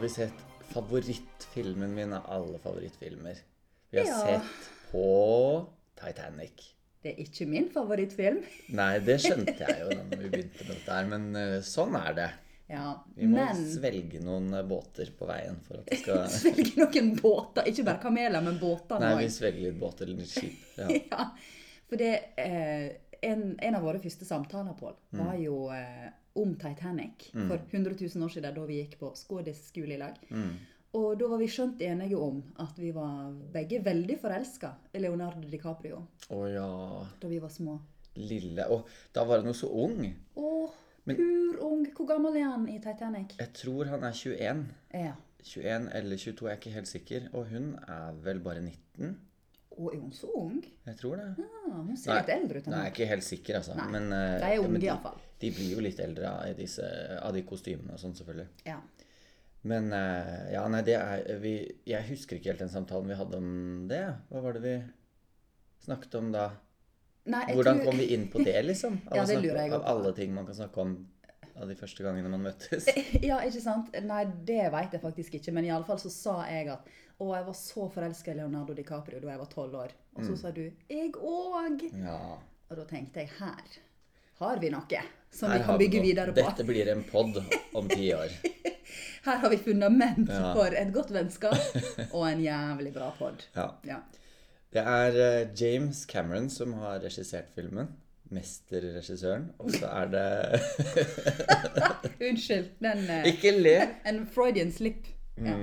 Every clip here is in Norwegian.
vi sett favorittfilmen min av alle favorittfilmer. Vi har Ja. sett på Titanic. Det er ikke min favorittfilm. Nei, det skjønte jeg jo da vi begynte med dette her, men eh, sånn er det. Ja, Vi må men Sånn svelge noen eh, båter på veien for at det skal Svelge noen båter. Ikke bare kameler, men båter. Nei, nå. vi svelger litt båt eller litt skip. Ja. ja. For det eh, en, en av våre første samtaler, Pål, Mm. var jo eh, om Titanic for 100 000 år siden, da vi gikk på skådisskole i lag. Mm. Og da var vi skjønt enige om at vi var begge veldig forelska i Leonardo DiCaprio Å ja, da vi var små. lille Å, da var han jo så ung. Å, pur ung! Hvor gammel er han i Titanic? Jeg tror han er 21. Ja. 21 eller 22, jeg er ikke helt sikker. Og hun er vel bare 19? Å, er hun så ung? Jeg tror det. Ja, hun ser litt eldre ut enn Nei, jeg meg. er ikke helt sikker, altså. Nei, Men, eh, de er unge men i hvert fall. De blir jo litt eldre av, disse, av de kostymene og sånn, selvfølgelig. Ja. Men eh, ja, nei, det er vi, Jeg husker ikke helt den samtalen vi hadde om det. Hva var det vi snakket om da? Nei, jeg Hvordan tror- kom vi inn på det, liksom? Av, Ja, å det snakke- lurer jeg av også på. alle ting man kan snakke om av de første gangene man møtes. Ja, ikke sant? Nei, det vet jeg faktisk ikke. Men iallfall så sa jeg at å, jeg var så forelska i Leonardo DiCaprio da jeg var tolv år. Og Mm. så sa du 'jeg òg'. Ja. Og da tenkte jeg her har vi noe som her har vi kan vi bygge noe. videre på. Dette blir en pod om ti år. Her har vi fundament Ja. for et godt vennskap og en jævlig bra pod. Ja. Ja. Det er eh, James Cameron som har regissert filmen. Mesterregissøren. Og så er det Unnskyld, men eh, Ikke le! en Freudian slip. Ja.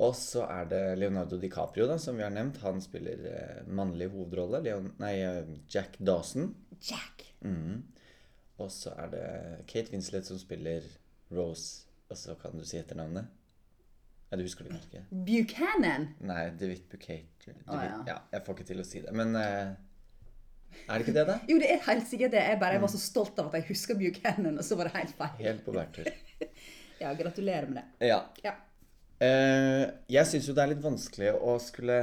Og så er det Leonardo DiCaprio, da, som vi har nevnt. Han spiller eh, mannlig hovedrolle. Leon, nei, eh, Jack Dawson. Jack. Og så er det Kate Winslet som spiller Rose. Og så kan du si etternavnet. Nei, du husker det kanskje ikke? Buchanan. Nei, DeWitt Bucate. Å, ja. ja, jeg får ikke til å si det. Men eh, er det ikke det, da? Jo, det er helt sikkert det. Jeg bare jeg var så stolt av at jeg husker Buchanan, og så var det helt feil. Helt på bærtur. Ja, gratulerer med det. Ja. Ja. Eh, jeg syns jo det er litt vanskelig å skulle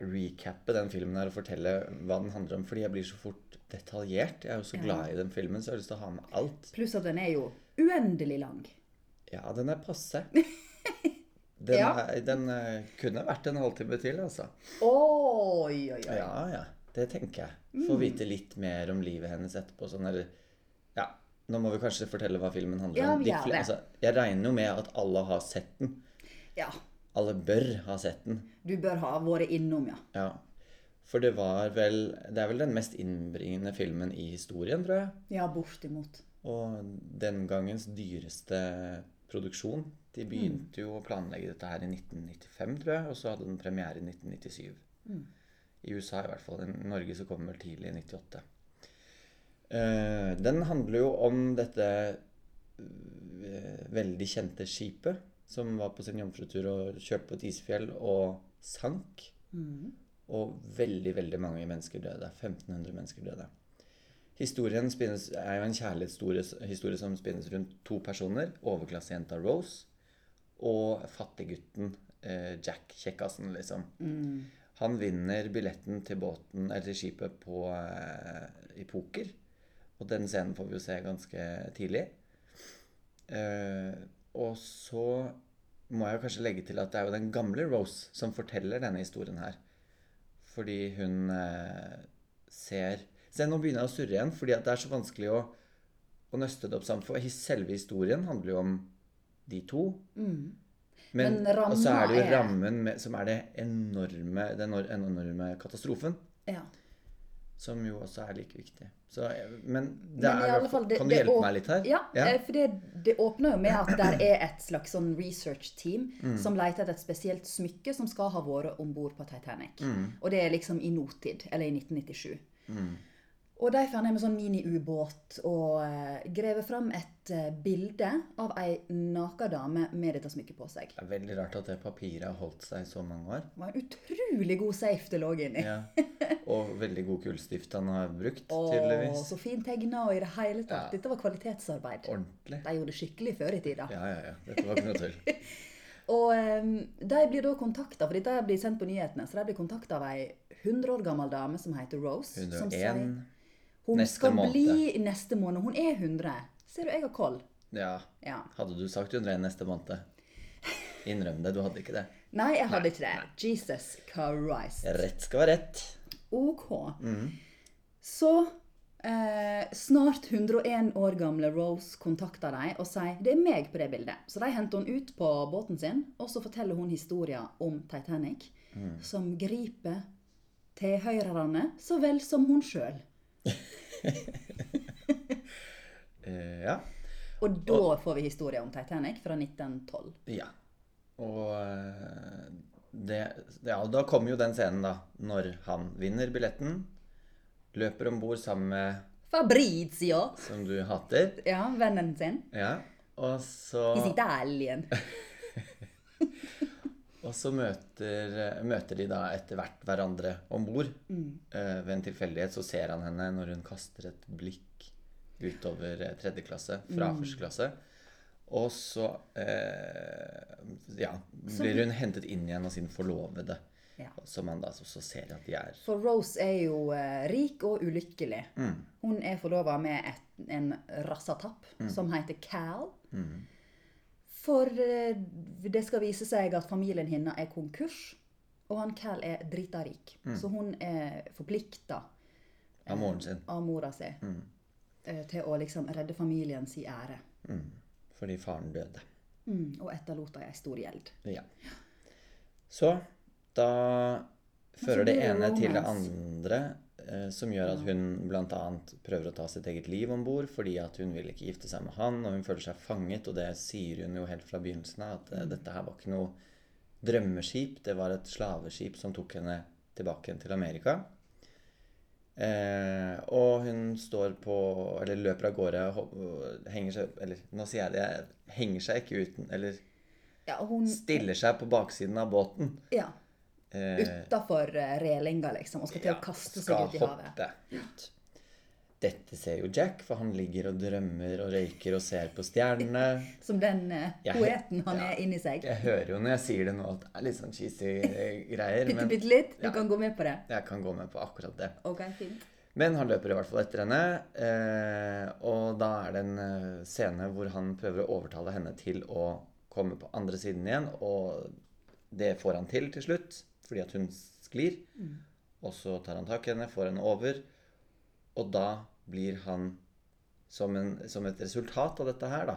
recappe den filmen her og fortelle hva den handler om, fordi jeg blir så fort detaljert. Jeg er jo så glad i den filmen, så jeg har lyst til å ha med alt. Pluss at den er jo uendelig lang. Ja, den er passe. Den, Ja. er, den eh, kunne vært en halvtime til, altså. Oi, oi, oi. Ja, ja. Det tenker jeg. Få Mm. vite litt mer om livet hennes etterpå. Sånn, eller, ja, nå må vi kanskje fortelle hva filmen handler Ja, om. vi De gjør fle- det. altså, jeg regner jo med at alle har sett den. Ja, Alle bør ha sett den. Du bør ha vært innom, ja. Ja. For det var vel Det er vel den mest innbringende filmen i historien, tror jeg. Ja, bortimot. Og den gangens dyreste produksjon. De begynte jo å planlegge dette her i 1995, tror jeg, og så hadde den premiere i 1997. I USA i hvert fall. I Norge så kom den vel tidlig i 98. Eh, den handler jo om dette eh, veldig kjente skipet som var på sin jomfrutur og kjørte på et isfjell og sank. Og veldig, veldig mange mennesker døde. 1500 mennesker døde. Historien spinnes, er jo en kjærlighetshistorie historie som spinnes rundt to personer. Overklassejenta Rose og fattiggutten eh, Jack, kjekkasen, liksom. Han vinner billetten til båten, eller til skipet på, eh, i poker. Og den scenen får vi jo se ganske tidlig. Eh, og så må jeg jo kanskje legge til at det er jo den gamle Rose som forteller denne historien her. Fordi hun eh, ser Se, nå begynner jeg å surre igjen, fordi at det er så vanskelig å, å nøste det opp sammen. For his- selve historien handler jo om de to. Mm, Men, Men ramma og så er det jo er- rammen med, som er det enorme, den enor- enorme katastrofen. Ja. Som jo også er like viktig. Så, eh, men det Men i er i alle hvert fall- fall, det- Kan du det hjelpe åp- meg litt her? Ja, eh, for det, det åpner jo med at der er et slags sånn research-team som leter etter et spesielt smykke som skal ha vært om bord på Titanic. Og det er liksom i notid, eller i 1997. Og de fant en sånn mini-ubåt og eh, grev fram et eh, bilde av ei naken dame med dette smykket på seg. Det er veldig rart at det papiret har holdt seg i så mange år. Det var en utrolig god safe det lå inni. Ja. Og veldig god kullstift han har brukt, Å, tydeligvis. så fint tegna og i det hele tatt. Dette var kvalitetsarbeid. Ordentlig. De gjorde det skikkelig før i tida. Ja, ja, ja. Dette var ikke noe tull. Og em, de blir da kontakta, for dette blir sendt på nyhetene, så de blir kontakta av ei 100 år gammel dame som heter Rose. 101 Som sier hun neste skal måned. bli neste måned. Hun er 100. Ser du, jeg har koll. Ja. Ja. Hadde du sagt 101 neste måned? Innrøm det, du hadde ikke det. Nei, jeg hadde ikke det. Jesus Christ. Rett skal være rett. OK. Så eh, snart 101 år gamle Rose kontakter dem og sier det er meg på det bildet. Så de henter hun ut på båten sin, og så forteller hun historien om Titanic, som griper tilhørerne så vel som hun sjøl. Eh, ja. Og da får vi historien om Titanic fra 1912. Ja. Og eh, det, ja, da kommer jo den scenen, da. Når han vinner billetten, løper om bord sammen med Fabrizio! som du hater. Ja, vennen sin. Ja. Og I så, Italien. og så møter, møter de da etter hvert hverandre om bord. Mm. Eh, ved en tilfeldighet så ser han henne når hun kaster et blikk utover eh, tredje klasse, fra første klasse. Og så eh, ja, blir hun hentet inn igjen av sin forlovede. Ja. Som han da så, så ser at de er For Rose er jo eh, rik og ulykkelig. Mm. Hun er forlova med et, en rassatapp Mm. som heter Cal. For eh, det skal vise seg at familien hennes er konkurs, og han Cal er drita rik. Mm. Så hun er forplikta av moren sin. av mora si Mm. eh, til å liksom redde familien si ære. Mm. Fordi faren døde. Mm, og etterlot henne ei stor gjeld. Ja. Så da fører det blir det ene til det romance. andre, eh, som gjør at hun bl.a. prøver å ta sitt eget liv om bord fordi at hun vil ikke gifte seg med han, og hun føler seg fanget, og det sier hun jo helt fra begynnelsen av, at eh, dette her var ikke noe drømmeskip, det var et slaveskip som tok henne tilbake igjen til Amerika. Eh, og hun står på Eller løper av gårde og hop- henger seg Eller nå sier jeg det, jeg henger seg ikke uten Eller Ja, hun stiller seg på baksiden av båten. ja, Eh, Utafor relinga, liksom, og skal til ja, å kaste skal seg ut i havet. hoppe ut. Dette ser jo Jack, for han ligger og drømmer og røyker og ser på stjernene. Som den eh, Jeg- poeten han ja. er inni seg. Jeg hører jo når jeg sier det nå at det er litt sånn cheesy eh, greier, Bitte, men bitte litt. Du Ja. kan gå med på det. jeg kan gå med på akkurat det. Ok, fint. Men han løper i hvert fall etter henne, eh, og da er det en eh, scene hvor han prøver å overtale henne til å komme på andre siden igjen, og det får han til til slutt, fordi at hun sklir. Og så tar han tak i henne, får henne over, og da blir han, som, en, som et resultat av dette her, da,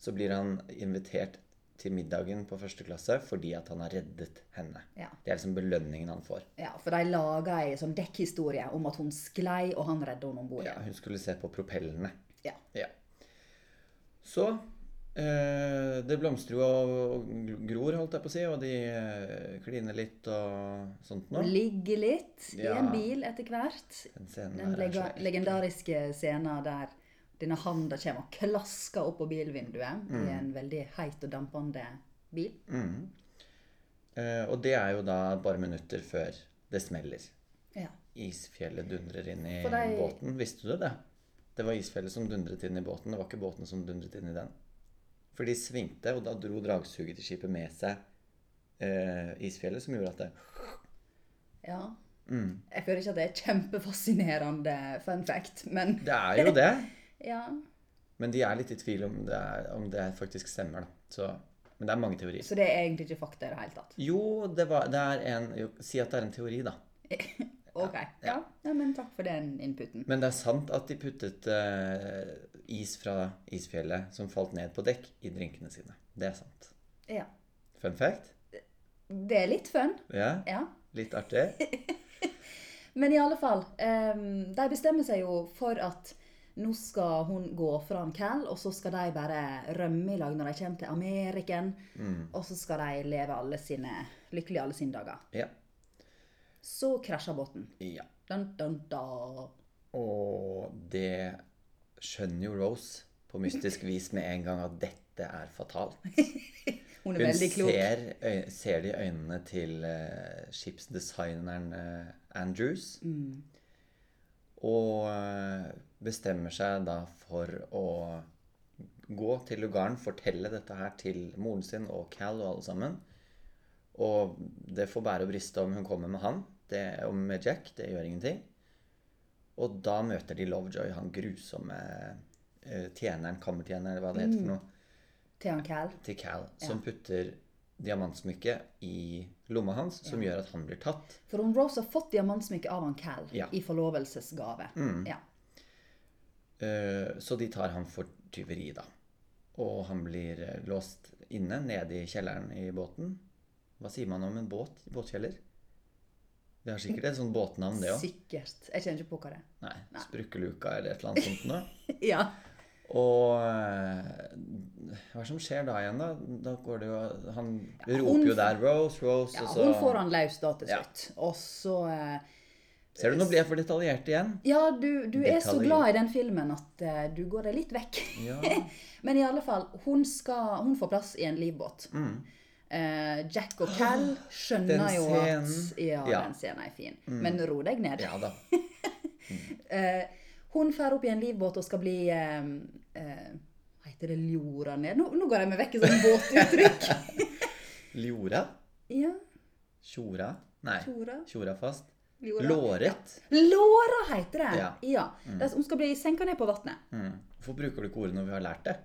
så blir han invitert til middagen på første klasse fordi at han har reddet henne. Ja. Det er liksom belønningen han får. Ja, for de laga ei sånn dekkhistorie om at hun sklei, og han redda henne om bord. Ja, hun skulle se på propellene. Ja. Ja. Så eh, det blomstrer jo og- og gror, holdt jeg på å si, og de eh, kliner litt og sånt nå. Hun ligger litt i en Ja. bil etter hvert. Den scenen Den her er så lega- legendariske scenen der denne handa kommer og klasker opp på bilvinduet Mm. i en veldig heit og dampende bil. Eh, Og det er jo da bare minutter før det smeller. Ja. Isfjellet dundrer inn i For det er- båten. Visste du det? Det var isfjellet som dundret inn i båten, det var ikke båten som dundret inn i den. For de svingte, og da dro dragsuget til skipet med seg eh, isfjellet, som gjorde at det ja. Mm. Jeg føler ikke at det er kjempefascinerende fun fact, men Det er jo det. ja. Men de er litt i tvil om det, er, om det faktisk stemmer, da. Så, men det er mange teorier. Så det er egentlig ikke fakta i det hele tatt. Jo, det, var, det er en jo, Si at det er en teori, da. OK. Ja, ja men takk for den inputen. Men det er sant at de puttet eh, is fra isfjellet som falt ned på dekk, i drinkene sine. Det er sant. Ja. Fun fact? Det er litt fun. Ja? Ja. Litt artig? Men i alle fall, ehm, de bestemmer seg jo for at nå skal hun gå fra en Cal, og så skal de bare rømme i lag når de kommer til Ameriken. Mm. Og så skal de leve alle sine, lykkelig alle sine dager. Ja. Så krasjer båten. ja. Dun, dun, dun. Og det skjønner jo Rose på mystisk vis med en gang at dette er fatalt. Hun Hun er veldig klok. ser, øy, ser det i øynene til eh, skipsdesigneren eh, Andrews. Mm. Og eh, bestemmer seg da for å gå til lugaren, fortelle dette her til moren sin og Cal og alle sammen. Og det får bære og briste om hun kommer med han, det, om med Jack, det gjør ingenting. Og da møter de Lovejoy, han grusomme Mm. eh, tjeneren, kammertjeneren, eller hva det heter for noe Til han Cal. til Cal, som putter diamantsmykket i lomma hans, som gjør at han blir tatt. For hun Rose har fått diamantsmykke av han Cal Ja. Mm. i forlovelsesgave. Ja. Eh, Så de tar han for tyveri, da. Og han blir eh, låst inne, nede i kjelleren i båten. Hva sier man om en båt? Båtkjeller? Det har sikkert et sånt båtnavn, det òg. Sikkert. Jeg kjenner ikke på hva det er. Nei, Sprukkeluka eller et eller annet sånt noe. Ja. Og eh, hva er det som skjer da igjen, da? Da går det jo Han hun- roper jo der 'Rose, Rose', ja og hun så får han løs da til Ja. slutt. Og så eh, Ser du, nå blir jeg for detaljert igjen. Ja, du, du er så Detaljer. Mm. glad i den filmen at eh, du går deg litt vekk. Ja. Men i alle fall, hun, skal, hun får plass i en livbåt. mm. Eh, Jack og Cal skjønner Den jo scenen. at ja, Ja. Mm. den scenen er fin. Men ro deg ned. ja da. Eh, hun drar opp i en livbåt og skal bli eh, eh, Hva heter det? Ljora ned? Nå, nå går jeg meg vekk i sånn båtuttrykk. Ljora? ja, Tjora? Nei. Tjora? Tjora fast. Ljora. Låret? Låra heter det! Ja. Ja. Det er- Hun skal bli senka ned på vannet. Mm. Hvorfor bruker du ikke ordet når vi har lært det?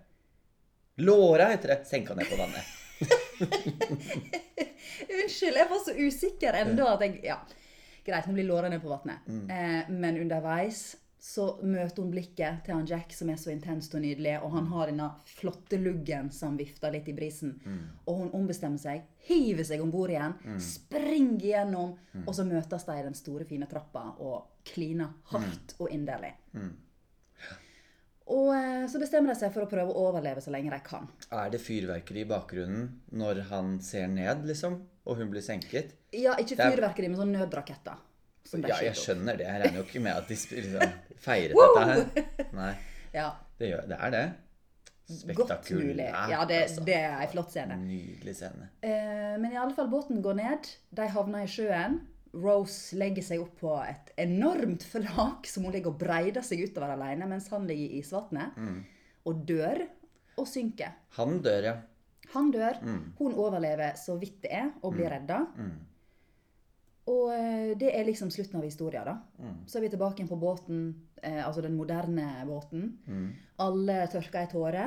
Låra heter det. Senka ned på vannet. Unnskyld, jeg var så usikker ennå at jeg Ja, greit, hun blir låra ned på vannet. Mm. Eh, men underveis så møter hun blikket til han Jack, som er så intenst og nydelig, og han har denne flotte luggen som vifter litt i brisen. Mm. Og hun ombestemmer seg, hiver seg om bord igjen, springer gjennom, Mm. og så møtes de i den store, fine trappa og kliner Mm. hardt og inderlig. Og eh, Så bestemmer de seg for å prøve å overleve så lenge de kan. Er det fyrverkeri i bakgrunnen når han ser ned, liksom? Og hun blir senket? Ja, ikke er- fyrverkeri, men sånn nødraketter. som de Ja, jeg skyter opp. skjønner det. Jeg regner jo ikke med at de sp- liksom feiret dette her. Nei. Ja, Det, gjør, det er det. Godt mulig. Ja, det, altså. det er en flott scene. Nydelig scene. Eh, men i alle fall, båten går ned. De havner i sjøen. Rose legger seg opp på et enormt flak som hun ligger og breider seg utover alene, mens han ligger i isvatnet og dør og synker. Hmm. Han dør, ja. Han dør, hun overlever så vidt det er, og blir redda. Hmm. Og eh, det er liksom slutten av historien, da. Hmm. Så er vi tilbake igjen på båten, eh, altså den moderne båten. Hmm. Alle tørker ei tåre.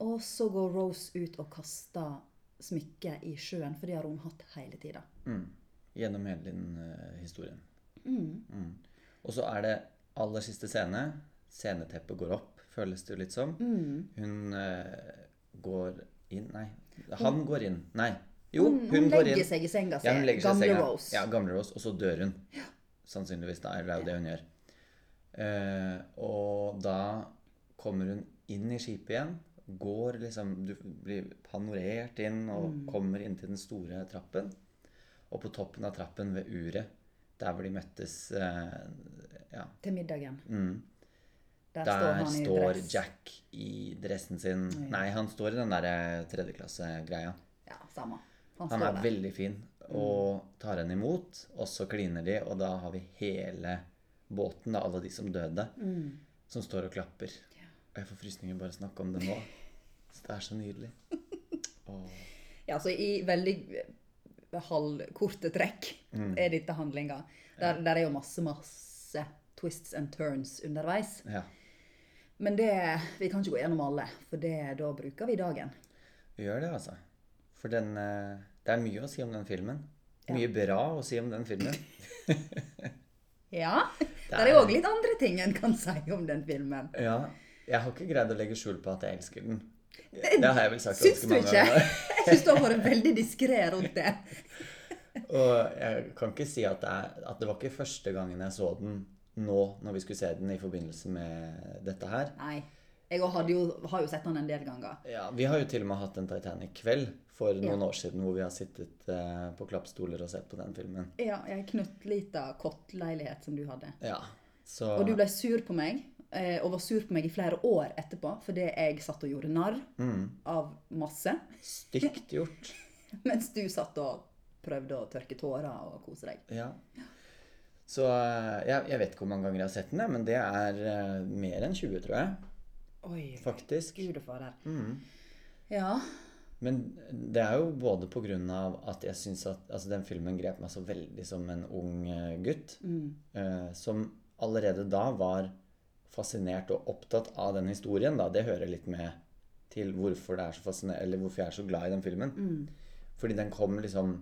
Og så går Rose ut og kaster smykket i sjøen, for det har hun hatt hele tida. Mm. Gjennom hele den eh, historien. Mm. Og så er det aller siste scene. Sceneteppet går opp, føles det jo litt som. Mm. Hun eh, går inn Nei, han går inn. Nei. Jo, Hun, hun, hun, går legger inn. seg i senga si. Ja, hun legger Altså, seg Gamle i senga. Rose. Ja, gamle Rose. Og så dør hun. Sannsynligvis, da. Eller det er jo det hun gjør. Eh, og da kommer hun inn i skipet igjen. Går liksom Du blir panorert inn og Mm. kommer inn til den store trappen. Og på toppen av trappen ved uret, der hvor de møttes eh, Ja. mm, Til middagen. Der Der, står han i står dress. Jack i dressen sin Nei, han står i den der eh, tredjeklassegreia. Ja, samme. Han, Han står er der. veldig fin og tar henne imot, og så kliner de, og da har vi hele båten, da, alle de som døde, Mm. som står og klapper. Og jeg får frysninger bare av å snakke om det nå. Så det er så nydelig. Ja, så i veldig eh, halvkorte trekk Mm. er dette handlinga. Der, der er jo masse, masse twists and turns underveis. Ja. Men det, vi kan ikke gå gjennom alle, for det, da bruker vi dagen. Vi gjør det, altså. For den eh, Det er mye å si om den filmen. Mye bra å si om den filmen. Ja. er- Der er òg litt andre ting en kan si om den filmen. Ja. Jeg har ikke greid å legge skjul på at jeg elsker den. Det har jeg vel sagt Syns ganske du mange ikke? ganger. Jeg syns du har vært veldig diskré rundt det. Og jeg kan ikke si at det, er, at det var ikke første gangen jeg så den nå, når vi skulle se den i forbindelse med dette her. Nei. Jeg òg hadde jo- har jo sett han en del ganger. Ja, vi har jo til og med hatt en Titanic-kveld for noen år siden hvor vi har sittet eh, på klappstoler og sett på den filmen. Ja, jeg knøttlita kottleilighet som du hadde. Ja, så Og du ble sur på meg, eh, og var sur på meg i flere år etterpå, fordi jeg satt og gjorde narr av masse, mm, stygt gjort. mens du satt og prøvde å tørke tårer og kose deg. Ja. Så eh, jeg, jeg vet ikke hvor mange ganger jeg har sett den, jeg, men det er eh, mer enn 20, tror jeg. Oi, Faktisk. Mm. gud og fader. Ja, Men det er jo både på grunn av at jeg syns at altså den filmen grep meg så veldig som en ung eh, gutt. Mm, eh, som allerede da var fascinert og opptatt av den mm. historien. Da. Det hører litt med til hvorfor, det er så fasciner- eller hvorfor jeg er så glad i den filmen. Fordi den kom liksom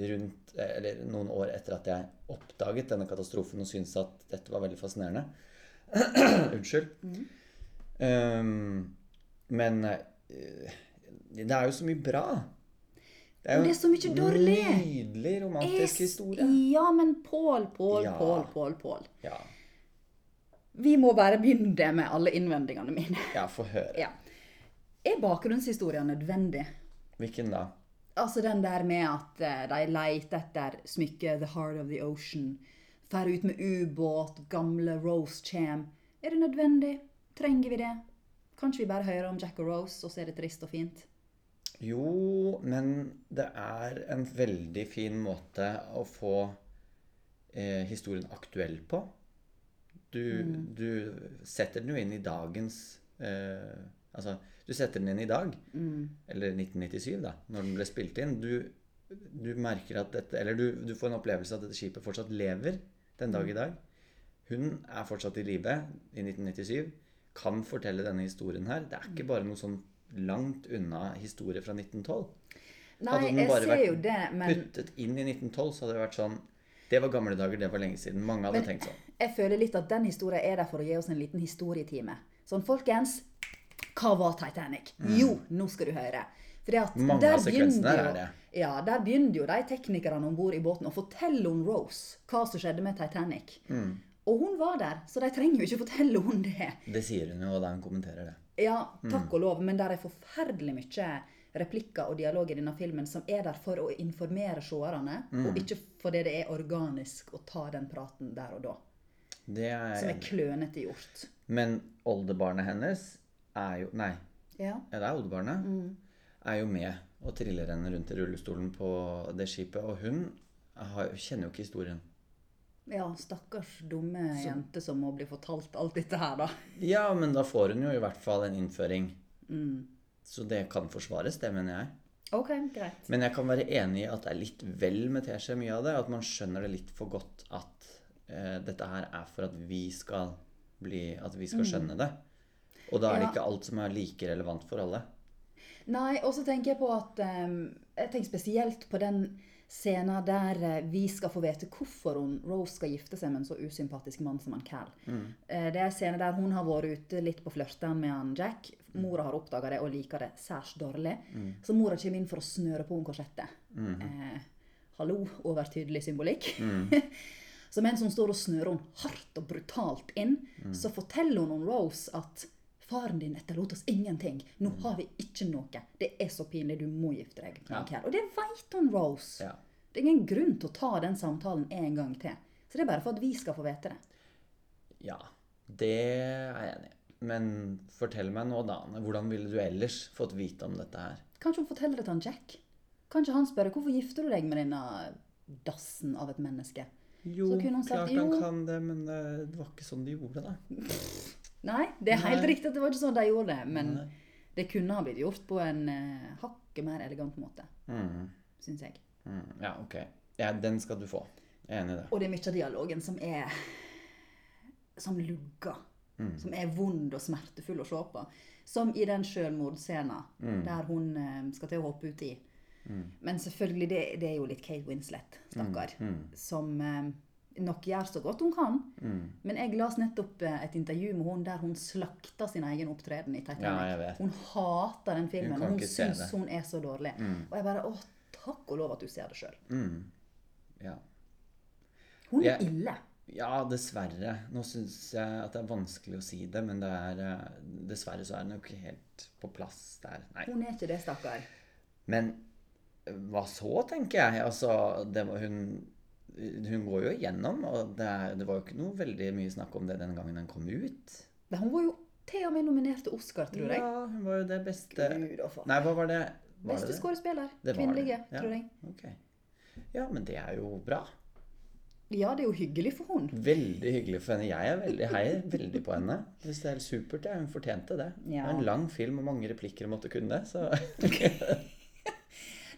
rundt Eller noen år etter at jeg oppdaget denne katastrofen og syntes at dette var veldig fascinerende. Unnskyld. Mm. Um, men eh, det er jo så mye bra. Det Men det er så mye dårlig. Nydelig romantisk historie. Ja, men Pål, Pål, Ja. Pål, Pål, Pål. Ja, Vi må bare begynne med alle innvendingene mine. ja få høre. Ja. Er bakgrunnshistorien nødvendig? Hvilken da? Altså den der med at eh, de leter etter smykket 'The Heart of the Ocean'. Drar ut med ubåt, gamle Rose kjem. Er det nødvendig? Trenger vi det? Kanskje vi bare hører om Jack og Rose, og så er det trist og fint? Jo, men det er en veldig fin måte å få eh, historien aktuell på. Du, du setter den jo inn i dagens eh, Altså, du setter den inn i dag. Eller 1997, da, når den ble spilt inn. Du, du merker at dette Eller du, du får en opplevelse av at dette skipet fortsatt lever den dag i dag. Hun er fortsatt i live i 1997. Kan fortelle denne historien her. Det er ikke bare noe sånn langt unna historie fra 1912. Nei, den jeg bare ser vært jo det, men Puttet inn i 1912 så hadde det vært sånn Det var gamle dager, det var lenge siden. Mange hadde tenkt sånn. jeg føler litt at den historien er der for å gi oss en liten historietime. Sånn, folkens, hva var Titanic? Jo, nå skal du høre. For det at Mm. Mange der av sekvensene begynner jo- er det. Ja, der begynner jo de teknikerne om bord i båten å fortelle om Rose, hva som skjedde med Titanic. Mm. Og hun var der, så de trenger jo ikke fortelle hun det. Det sier hun jo, og da hun kommenterer det. Ja, Mm. takk og lov, men der er forferdelig mye replikker og dialog i denne filmen som er der for å informere seerne, Mm. og ikke fordi det er organisk å ta den praten der og da. det er, Som er klønete gjort. Men oldebarnet hennes er jo Nei, Ja. Ja, det er oldebarnet. Mm. Er jo med og triller henne rundt i rullestolen på det skipet. Og hun har, kjenner jo ikke historien. Ja, stakkars dumme jente som må bli fortalt alt dette her, da. Ja, men da får hun jo i hvert fall en innføring. Mm. Så det kan forsvares, det mener jeg. OK, greit. Men jeg kan være enig i at det er litt vel med teskje mye av det. At man skjønner det litt for godt at eh, dette her er for at vi skal bli At vi skal skjønne det. Og da er det Ja. ikke alt som er like relevant for alle. Nei, og så tenker jeg på at ehm, Jeg tenker spesielt på den scenen der eh, vi skal få vite hvorfor hun, Rose skal gifte seg med en så usympatisk mann som han Cal. Eh, det er en scene der hun har vært ute litt på flørten med han Jack. Mora har oppdaga det og liker det særs dårlig. Så mora kommer inn for å snøre på henne korsettet. eh, hallo, overtydelig symbolikk. så mens hun står og snører hun hardt og brutalt inn, Mm. så forteller hun om Rose at Faren din etterlot oss ingenting. Nå har vi ikke noe. Det er så pinlig. Du må gifte deg. med Mm. Ja. Cal.» Og det veit hun, Rose. Ja. Det er ingen grunn til å ta den samtalen en gang til. Så det er bare for at vi skal få vite det. Ja, det er jeg enig i. Men fortell meg nå, da. Anne, Hvordan ville du ellers fått vite om dette her? Kanskje hun forteller det til han Jack? Kanskje han spør hvorfor gifter du deg med denne dassen av et menneske? Jo, Så kunne hun sagt, klart han jo. kan det, men det det var ikke sånn de gjorde det. da. Nei, det er helt Nei. riktig at det var ikke sånn de gjorde det, men Nei. det kunne ha blitt gjort på en eh, hakket mer elegant måte, Mm, syns jeg. mm, ja, ok. Ja, den skal du få. Jeg er enig i det. Og det er mye av dialogen som er som lugger. Mm. Som er vond og smertefull å se på. Som i den selvmordsscenen Mm. der hun eh, skal til å hoppe uti. Men selvfølgelig, det, det er jo litt Kate Winslet, Mm. stakkar. Som eh, nok gjør så godt hun kan. Mm. Men jeg las nettopp eh, et intervju med hun der hun slakta sin egen opptreden i Titanic. Ja, jeg vet. Hun hater den filmen. Hun kan Hun, ikke se syns det. Mm. hun er så dårlig. Og jeg bare Å, takk og lov at du ser det sjøl. Ja. Hun er Jeg- ille. ja, dessverre. Nå syns jeg at det er vanskelig å si det, men det er, eh, dessverre så er den jo ikke helt på plass der. Nei. Hun er ikke det, stakkar. Men eh, hva så, tenker jeg. Altså, det var hun Hun går jo igjennom, og det, er- det var jo ikke noe veldig mye snakk om det den gangen den kom ut. Nei, hun var jo til og med nominert til Oscar, tror jeg. Ja, hun var jo det beste Gud, å faen. Nei, hva var det? Var Beste det det? skuespiller. Det var Kvinnelige, det, ja. tror jeg. Ok. Ja, men det er jo bra. Ja, det er jo hyggelig for Mm. hun. Veldig hyggelig for henne. Jeg er veldig heier veldig på henne. Jeg synes det er helt supert. jeg. Hun fortjente det. Det Ja. var en lang film og mange replikker og måtte kunne det, så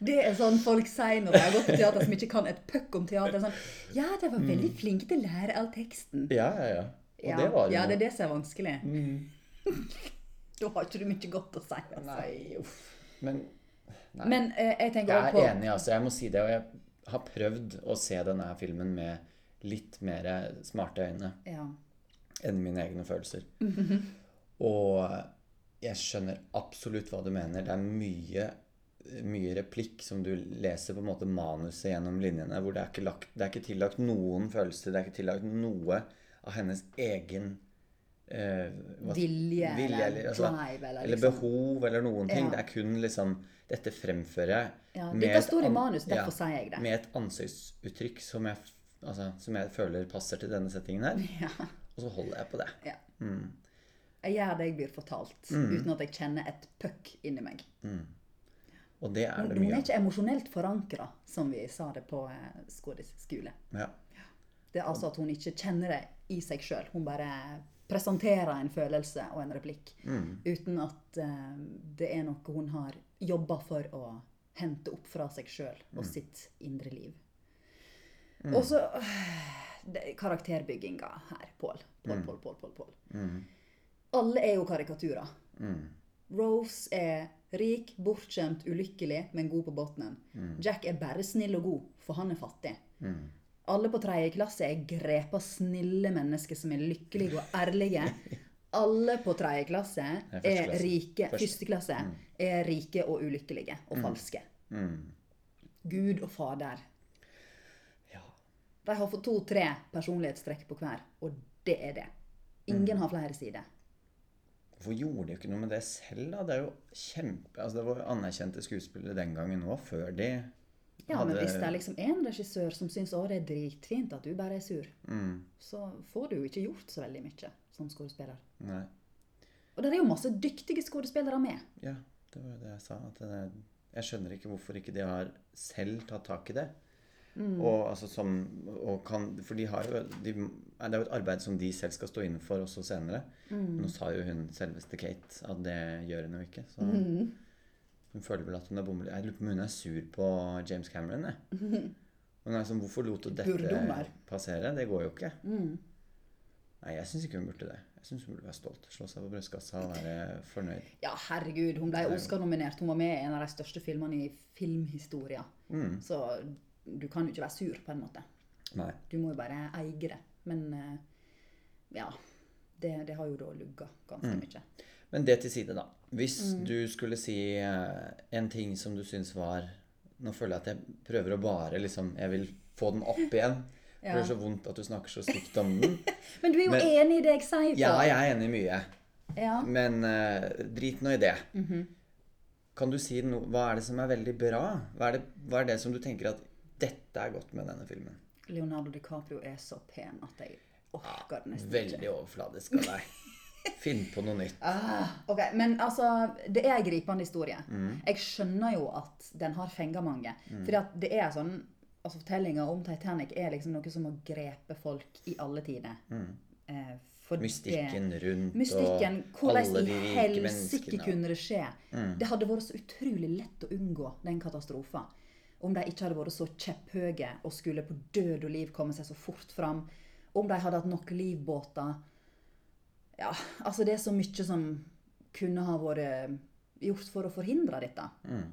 Det er sånn folk sier når de har gått på teater som ikke kan et puck om teater. Sånn, ja, de var veldig flinke til å lære all teksten. Ja, ja, Mm. ja. Og Ja, det Mm. var hun. ja, det er det som er vanskelig. da har ikke du mye godt å si. Altså. Nei, uff. Men Nei. Men eh, jeg tenker Jeg også er på enig, altså. Jeg må si det. Og jeg har prøvd å se denne her filmen med litt mer smarte øyne Ja. enn mine egne følelser. Og jeg skjønner absolutt hva du mener. Det er mye, mye replikk som du leser på en måte manuset gjennom linjene, hvor det er ikke, lagt, det er ikke tillagt noen følelser, det er ikke tillagt noe av hennes egen eh, hva- Vilje, vilje eller eller, altså, drive, eller eller liksom. behov eller noen ting. Ja. Det er kun liksom Dette fremfører jeg Ja, med dette et står i an- manus, ja, derfor sier jeg det. Med et ansiktsuttrykk som jeg, f- altså, som jeg føler passer til denne settingen her. Ja. Og så holder jeg på det. ja. Jeg gjør det jeg blir fortalt, Mm. uten at jeg kjenner et puck inni meg. Og det er det Hun mye er av. ikke emosjonelt forankra, som vi sa det på eh, Skådis skole. Ja. Det er altså at hun ikke kjenner det i seg sjøl. Hun bare presenterer en følelse og en replikk Mm. uten at eh, det er noe hun har jobba for å hente opp fra seg sjøl og Mm. sitt indre liv. Og så øh, det- karakterbygginga her, Pål. Pål, Mm. Pål, Pål, Pål. Pål. Alle er jo karikaturer. Rose er rik, bortskjemt, ulykkelig, men god på bunnen. Jack er bare snill og god, for han er fattig. Alle på tredje klasse er grepa snille mennesker som er lykkelige og ærlige. Alle på tredje klasse Nei, første er klasse. rike Første. Første klasse er rike og ulykkelige og falske. Gud og Fader. ja. De har fått to-tre personlighetstrekk på hver, og det er det. Ingen har flere sider. Hvorfor gjorde de ikke noe med det selv, da? Det er jo kjempe... Altså, det var jo anerkjente skuespillere den gangen òg, før de Ja, hadde men hvis det er liksom én regissør som syns å, det er dritfint at du bare er sur, Mm, så får du jo ikke gjort så veldig mye som skuespiller. Nei. Og der er jo masse dyktige skuespillere med. Ja, det var jo det jeg sa. At det er, jeg skjønner ikke hvorfor ikke de har selv tatt tak i det. Og, altså, som, og kan, for de har jo de, nei, Det er jo et arbeid som de selv skal stå inne for også senere. Nå sa jo hun selveste Kate at det gjør hun jo ikke. Så hun føler vel at hun er bommelig. Jeg lurer på om hun er sur på James Cameron. Jeg. Hun er sånn, Hvorfor lot du dette Burde hun være? passere? Det går jo ikke. Nei, jeg syns ikke hun burde det. Jeg syns hun burde være stolt. Slå seg på brystkassa og være fornøyd. Ja, herregud, hun ble Oscar-nominert. Hun var med i en av de største filmene i filmhistoria. Mm. Så du kan jo ikke være sur, på en måte. Nei. Du må jo bare eie det. Men eh, ja. Det, det har jo da lugga ganske Mm. mye. Men det til side, da. Hvis Mm. du skulle si eh, en ting som du syns var Nå føler jeg at jeg prøver å bare liksom Jeg vil få den opp igjen. For Ja. Det er så vondt at du snakker så stygt om den. Men du er jo Men- enig i det jeg sier? Ja, Pål. jeg er enig i mye, ja. men eh, drit nå i det. Mhm. Kan du si noe Hva er det som er veldig bra? Hva er, det, hva er det som du tenker at dette er godt med denne filmen? Leonardo DiCaprio er så pen at jeg orker det nesten ikke. Veldig overfladisk av deg. Finn på noe nytt. Ah, ok, Men altså, det er en gripende historie. Jeg skjønner jo at den har fenga mange. Fordi at det er sånn altså Fortellinga om Titanic er liksom noe som har grepet folk i alle tider. Eh, for det- Mystikken rundt Mystikken, og hvordan alle de i rike helsike menneskene. Mm. kunne det skje? Det hadde vært så utrolig lett å unngå den katastrofen. Om de ikke hadde vært så kjepphøye og skulle på død og liv komme seg så fort fram. Om de hadde hatt nok livbåter. Ja, altså det er så mye som kunne ha vært eh, gjort for å forhindre dette. Mm.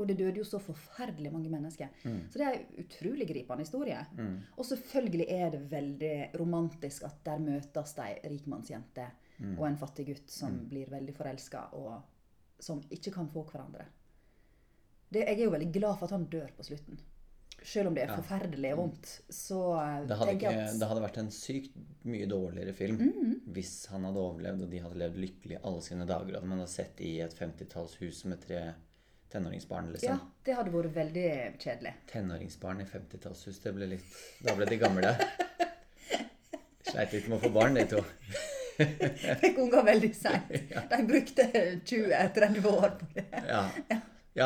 Og det døde jo så forferdelig mange mennesker. Så det er en utrolig gripende historie. Mm. Og selvfølgelig er det veldig romantisk at der møtes de rikmannsjente Mm. og en fattig gutt som blir veldig forelska, og som ikke kan få hverandre. Det, jeg er jo veldig glad for at han dør på slutten. Selv om det er forferdelig vondt, så Mm. eh, Det hadde, tenker ikke, jeg at det hadde vært en sykt mye dårligere film Mm. hvis han hadde overlevd og de hadde levd lykkelig alle sine dager. At man hadde sett i et 50-tallshus med tre tenåringsbarn. Ja, liksom. det hadde vært veldig kjedelig. Tenåringsbarn i 50-tallshus, det ble litt Da ble de gamle. Sleit litt med å få barn, de to. Fikk unger veldig seint. De brukte 20-30 år på det. Ja ja.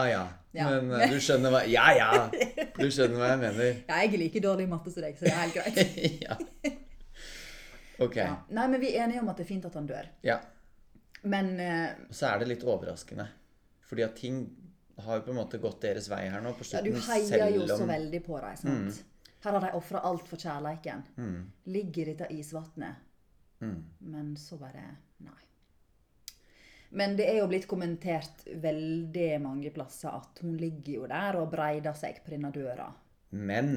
ja. Ja. Men eh, du skjønner hva Ja ja! Du skjønner hva jeg mener. Ja, jeg er like dårlig i matte som deg, så det er helt greit. ja. Ok. Ja. Nei, men vi er enige om at det er fint at han dør. Ja. Men eh, Og så er det litt overraskende. Fordi at ting har jo på en måte gått deres vei her nå på ja, du slutten. heier jo selv så om Mm. veldig på dem, sant? Her har de ofra alt for kjærleiken. mm. Ligger i dette isvannet. Men så bare Nei. Men det er jo blitt kommentert veldig mange plasser at hun ligger jo der og breider seg på denne døra. Men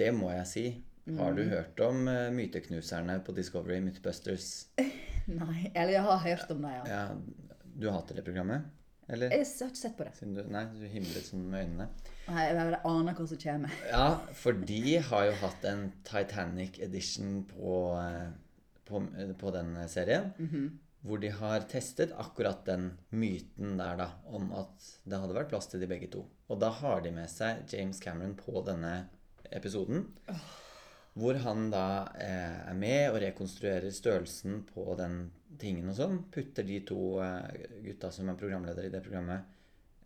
det må jeg si. Har Mm. du hørt om eh, myteknuserne på Discovery Mythbusters? Eh. Nei, eller jeg har hørt om det, ja. Ja, du hater det programmet? Eller? Jeg har ikke sett på det. Siden Du, nei, du himlet sånn med øynene. Nei, Jeg bare aner hva som kommer. Ja, for de har jo hatt en Titanic edition på, eh, på, eh, på den serien. Hvor de har testet akkurat den myten der, da. Om at det hadde vært plass til de begge to. Og da har de med seg James Cameron på denne episoden. Hvor han da eh, er med og rekonstruerer størrelsen på den tingen og sånn. Putter de to eh, gutta som er programledere i det programmet,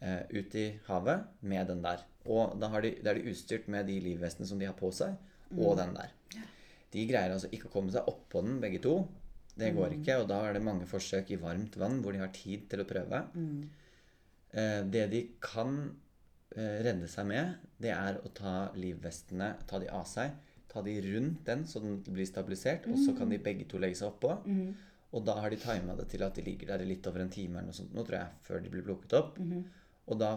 eh, ut i havet med den der. Og da, har de, da er de utstyrt med de livvestene som de har på seg, og den der. De greier altså ikke å komme seg oppå den, begge to. Det går ikke, og da er det mange forsøk i varmt vann hvor de har tid til å prøve. Eh, det de kan eh, redde seg med, det er å ta livvestene, ta de av seg, ta de rundt den så den blir stabilisert, og så kan de begge to legge seg oppå. Og da har de tima det til at de ligger der i litt over en time eller noe sånt, nå tror jeg, før de blir plukket opp. Og da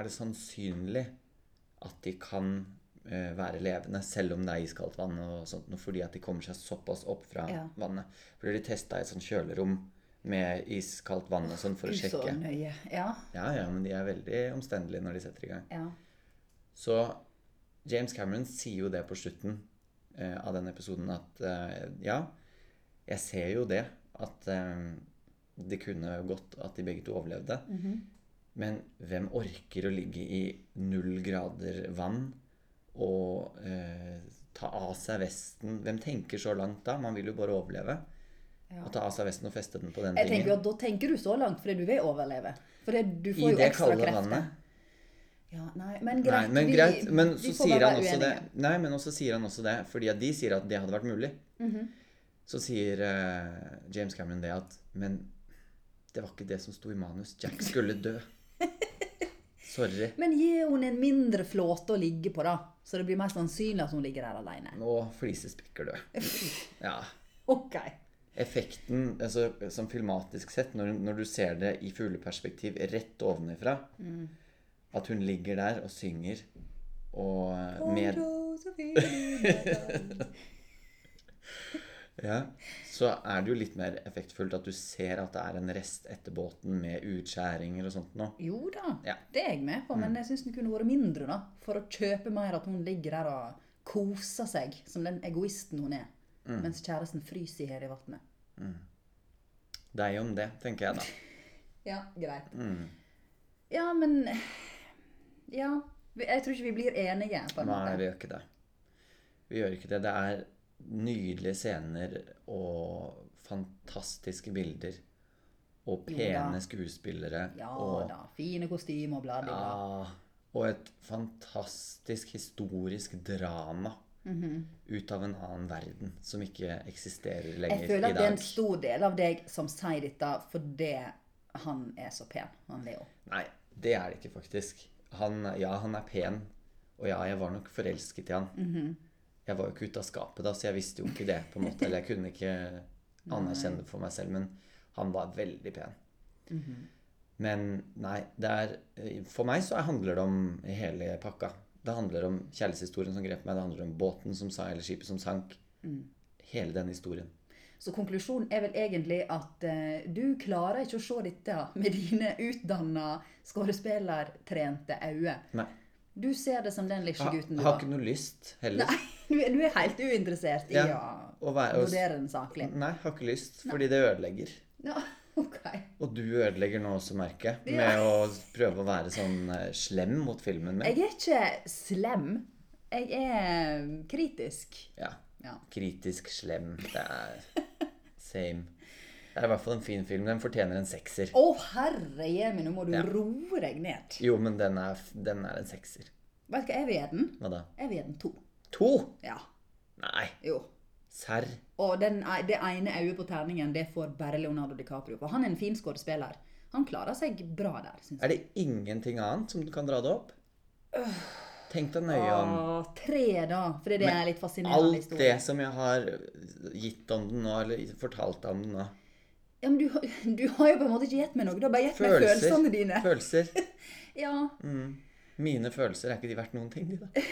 er det sannsynlig at de kan eh, være levende, selv om det er iskaldt vann og sånt, noe, fordi at de kommer seg såpass opp fra Ja. vannet. For de testa i et sånt kjølerom med iskaldt vann og sånn for å Så sjekke. nøye. Ja, Ja, ja, men de er veldig omstendelige når de setter i gang. ja. Så James Cameron sier jo det på slutten eh, av den episoden at eh, ja, jeg ser jo det at eh, det kunne gått at de begge to overlevde. Mhm. Men hvem orker å ligge i null grader vann og eh, ta av seg vesten? Hvem tenker så langt da? Man vil jo bare overleve. Ja. Og ta av seg vesten og feste den på den Jeg tenker jo tingen. at Da tenker du så langt fordi du vil overleve. For det, du I får jo det ekstra kalde krefter. vannet. Ja, nei, men Nei, greit. men vi- greit, men vi så får sier bare han være også det uenige. Nei, men også sier han også det, fordi at de sier at det hadde vært mulig. Mhm. Så sier eh, James Cameron det at Men det var ikke det som sto i manus. Jack skulle dø. Sorry. Men gi hun en mindre flåte å ligge på, da. Så det blir mer sannsynlig at hun ligger der alene. Nå flisespikker du. Ja. Ok. Effekten altså, som filmatisk sett, når, når du ser det i fugleperspektiv rett ovenifra, at hun ligger der og synger og eh, med Ja, så er det jo litt mer effektfullt at du ser at det er en rest etter båten med utskjæringer og sånt nå. Jo da, Ja. Mm. det er jeg med på, men jeg syns den kunne vært mindre, da. For å kjøpe mer at hun ligger der og koser seg, som den egoisten hun er. Mm. Mens kjæresten fryser i hjel i vannet. Deg om det, tenker jeg da. Ja, greit. Mm. Ja, men Ja. vi- Jeg tror ikke vi blir enige, på en Nei, måte. vi gjør ikke det. Vi gjør ikke det. Det er nydelige scener og fantastiske bilder. Og pene skuespillere. Ja og, da. Fine kostymer og bla, bla, bla. Ja, og et fantastisk historisk drama ut av en annen verden som ikke eksisterer Mhm. Jeg lenger i føler at det er dag. en stor del av deg som sier dette fordi han er så pen, han Leo. Nei, det er det ikke faktisk. Han, ja, han er pen, og ja, jeg var nok forelsket i han. Mhm. Jeg var jo ikke ute av skapet da, så jeg visste jo ikke det, på en måte. Eller jeg kunne ikke anerkjenne det for meg selv, men han var veldig pen. Mhm. Men nei, det er For meg så handler det om hele pakka. Det handler om kjærlighetshistorien som grep meg, det handler om båten som sa, eller skipet som sank. Mm. Hele den historien. Så konklusjonen er vel egentlig at eh, du klarer ikke å se dette med dine utdanna skuespillertrente øyne. Nei. Du ser det som den lille Jeg gutten har, du har var. ikke noe lyst heller. Du, er- du er helt uinteressert i å Å være, å, vurdere den saklig. nei, har ikke lyst, fordi det ødelegger. Ja, ok. Og du ødelegger nå også, merker jeg, Ja. med å prøve å være sånn eh, slem mot filmen min. Jeg er ikke slem. Jeg er kritisk. Ja. Ja. Kritisk slem. Det er same. Det er i hvert fall en fin film. Den fortjener en sekser. Å, herre jemi, nå må du roe deg ned. Jo, men den er, f- den er en sekser. Vet du hva jeg vil gi den? Hva da? Jeg vil gi den to. To? Ja. Nei, Jo. serr. Og den, det ene øyet på terningen det får bare Leonardo DiCaprio. For han er en fin skuespiller. Han klarer seg bra der, syns jeg. Er det ingenting annet som du kan dra det opp? Tenk deg nøye om. Åh, tre, da. Fordi det er litt fascinerende Alt det historie. som jeg har gitt om den nå, eller fortalt om den nå. Ja, men du, har- du har jo på en måte ikke gitt meg noe. Du har bare gitt meg Følelser. følelsene dine. Følelser. Ja. Mm. Mine følelser, er ikke de verdt noen ting, de, da?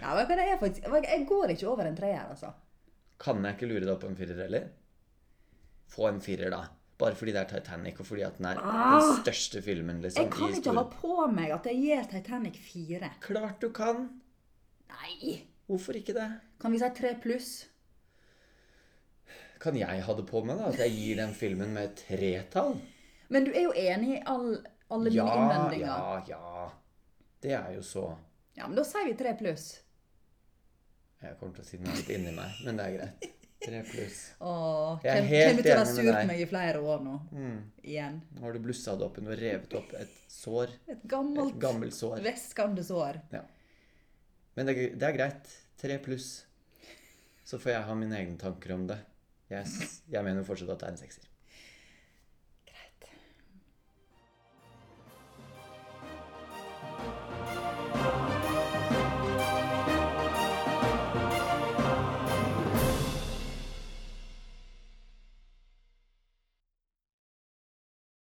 ja men hva det er faktisk, jeg går ikke over en treer, altså. Kan jeg ikke lure deg opp på en firer heller? Få en firer, da. Bare fordi det er Titanic, og fordi at den er den største filmen liksom, Ah! Jeg kan i ikke ha historien. på meg at jeg gir Titanic fire. Klart du kan! Nei! Hvorfor ikke det? Kan vi si tre pluss? Kan jeg ha det på meg, da? At jeg gir den filmen med et tretall? Men du er jo enig i all, alle mine Ja, ja, innvendinger. Ja. ja. Det er jo så men da sier vi tre pluss. Jeg kommer til å si noe litt inni meg, men det er greit. Tre pluss. Åh, Jeg er kjem- helt kjem du til å være enig med sur på deg. meg i flere år nå? Mm. Igjen. Nå har du blussa det opp, og du har revet opp et sår. Et Et gammelt, gammelt sår. væskende sår. Men det er, gre- det er greit. Tre pluss. Så får jeg ha mine egne tanker om det. Jeg, s- jeg mener jo fortsatt at det er en sekser.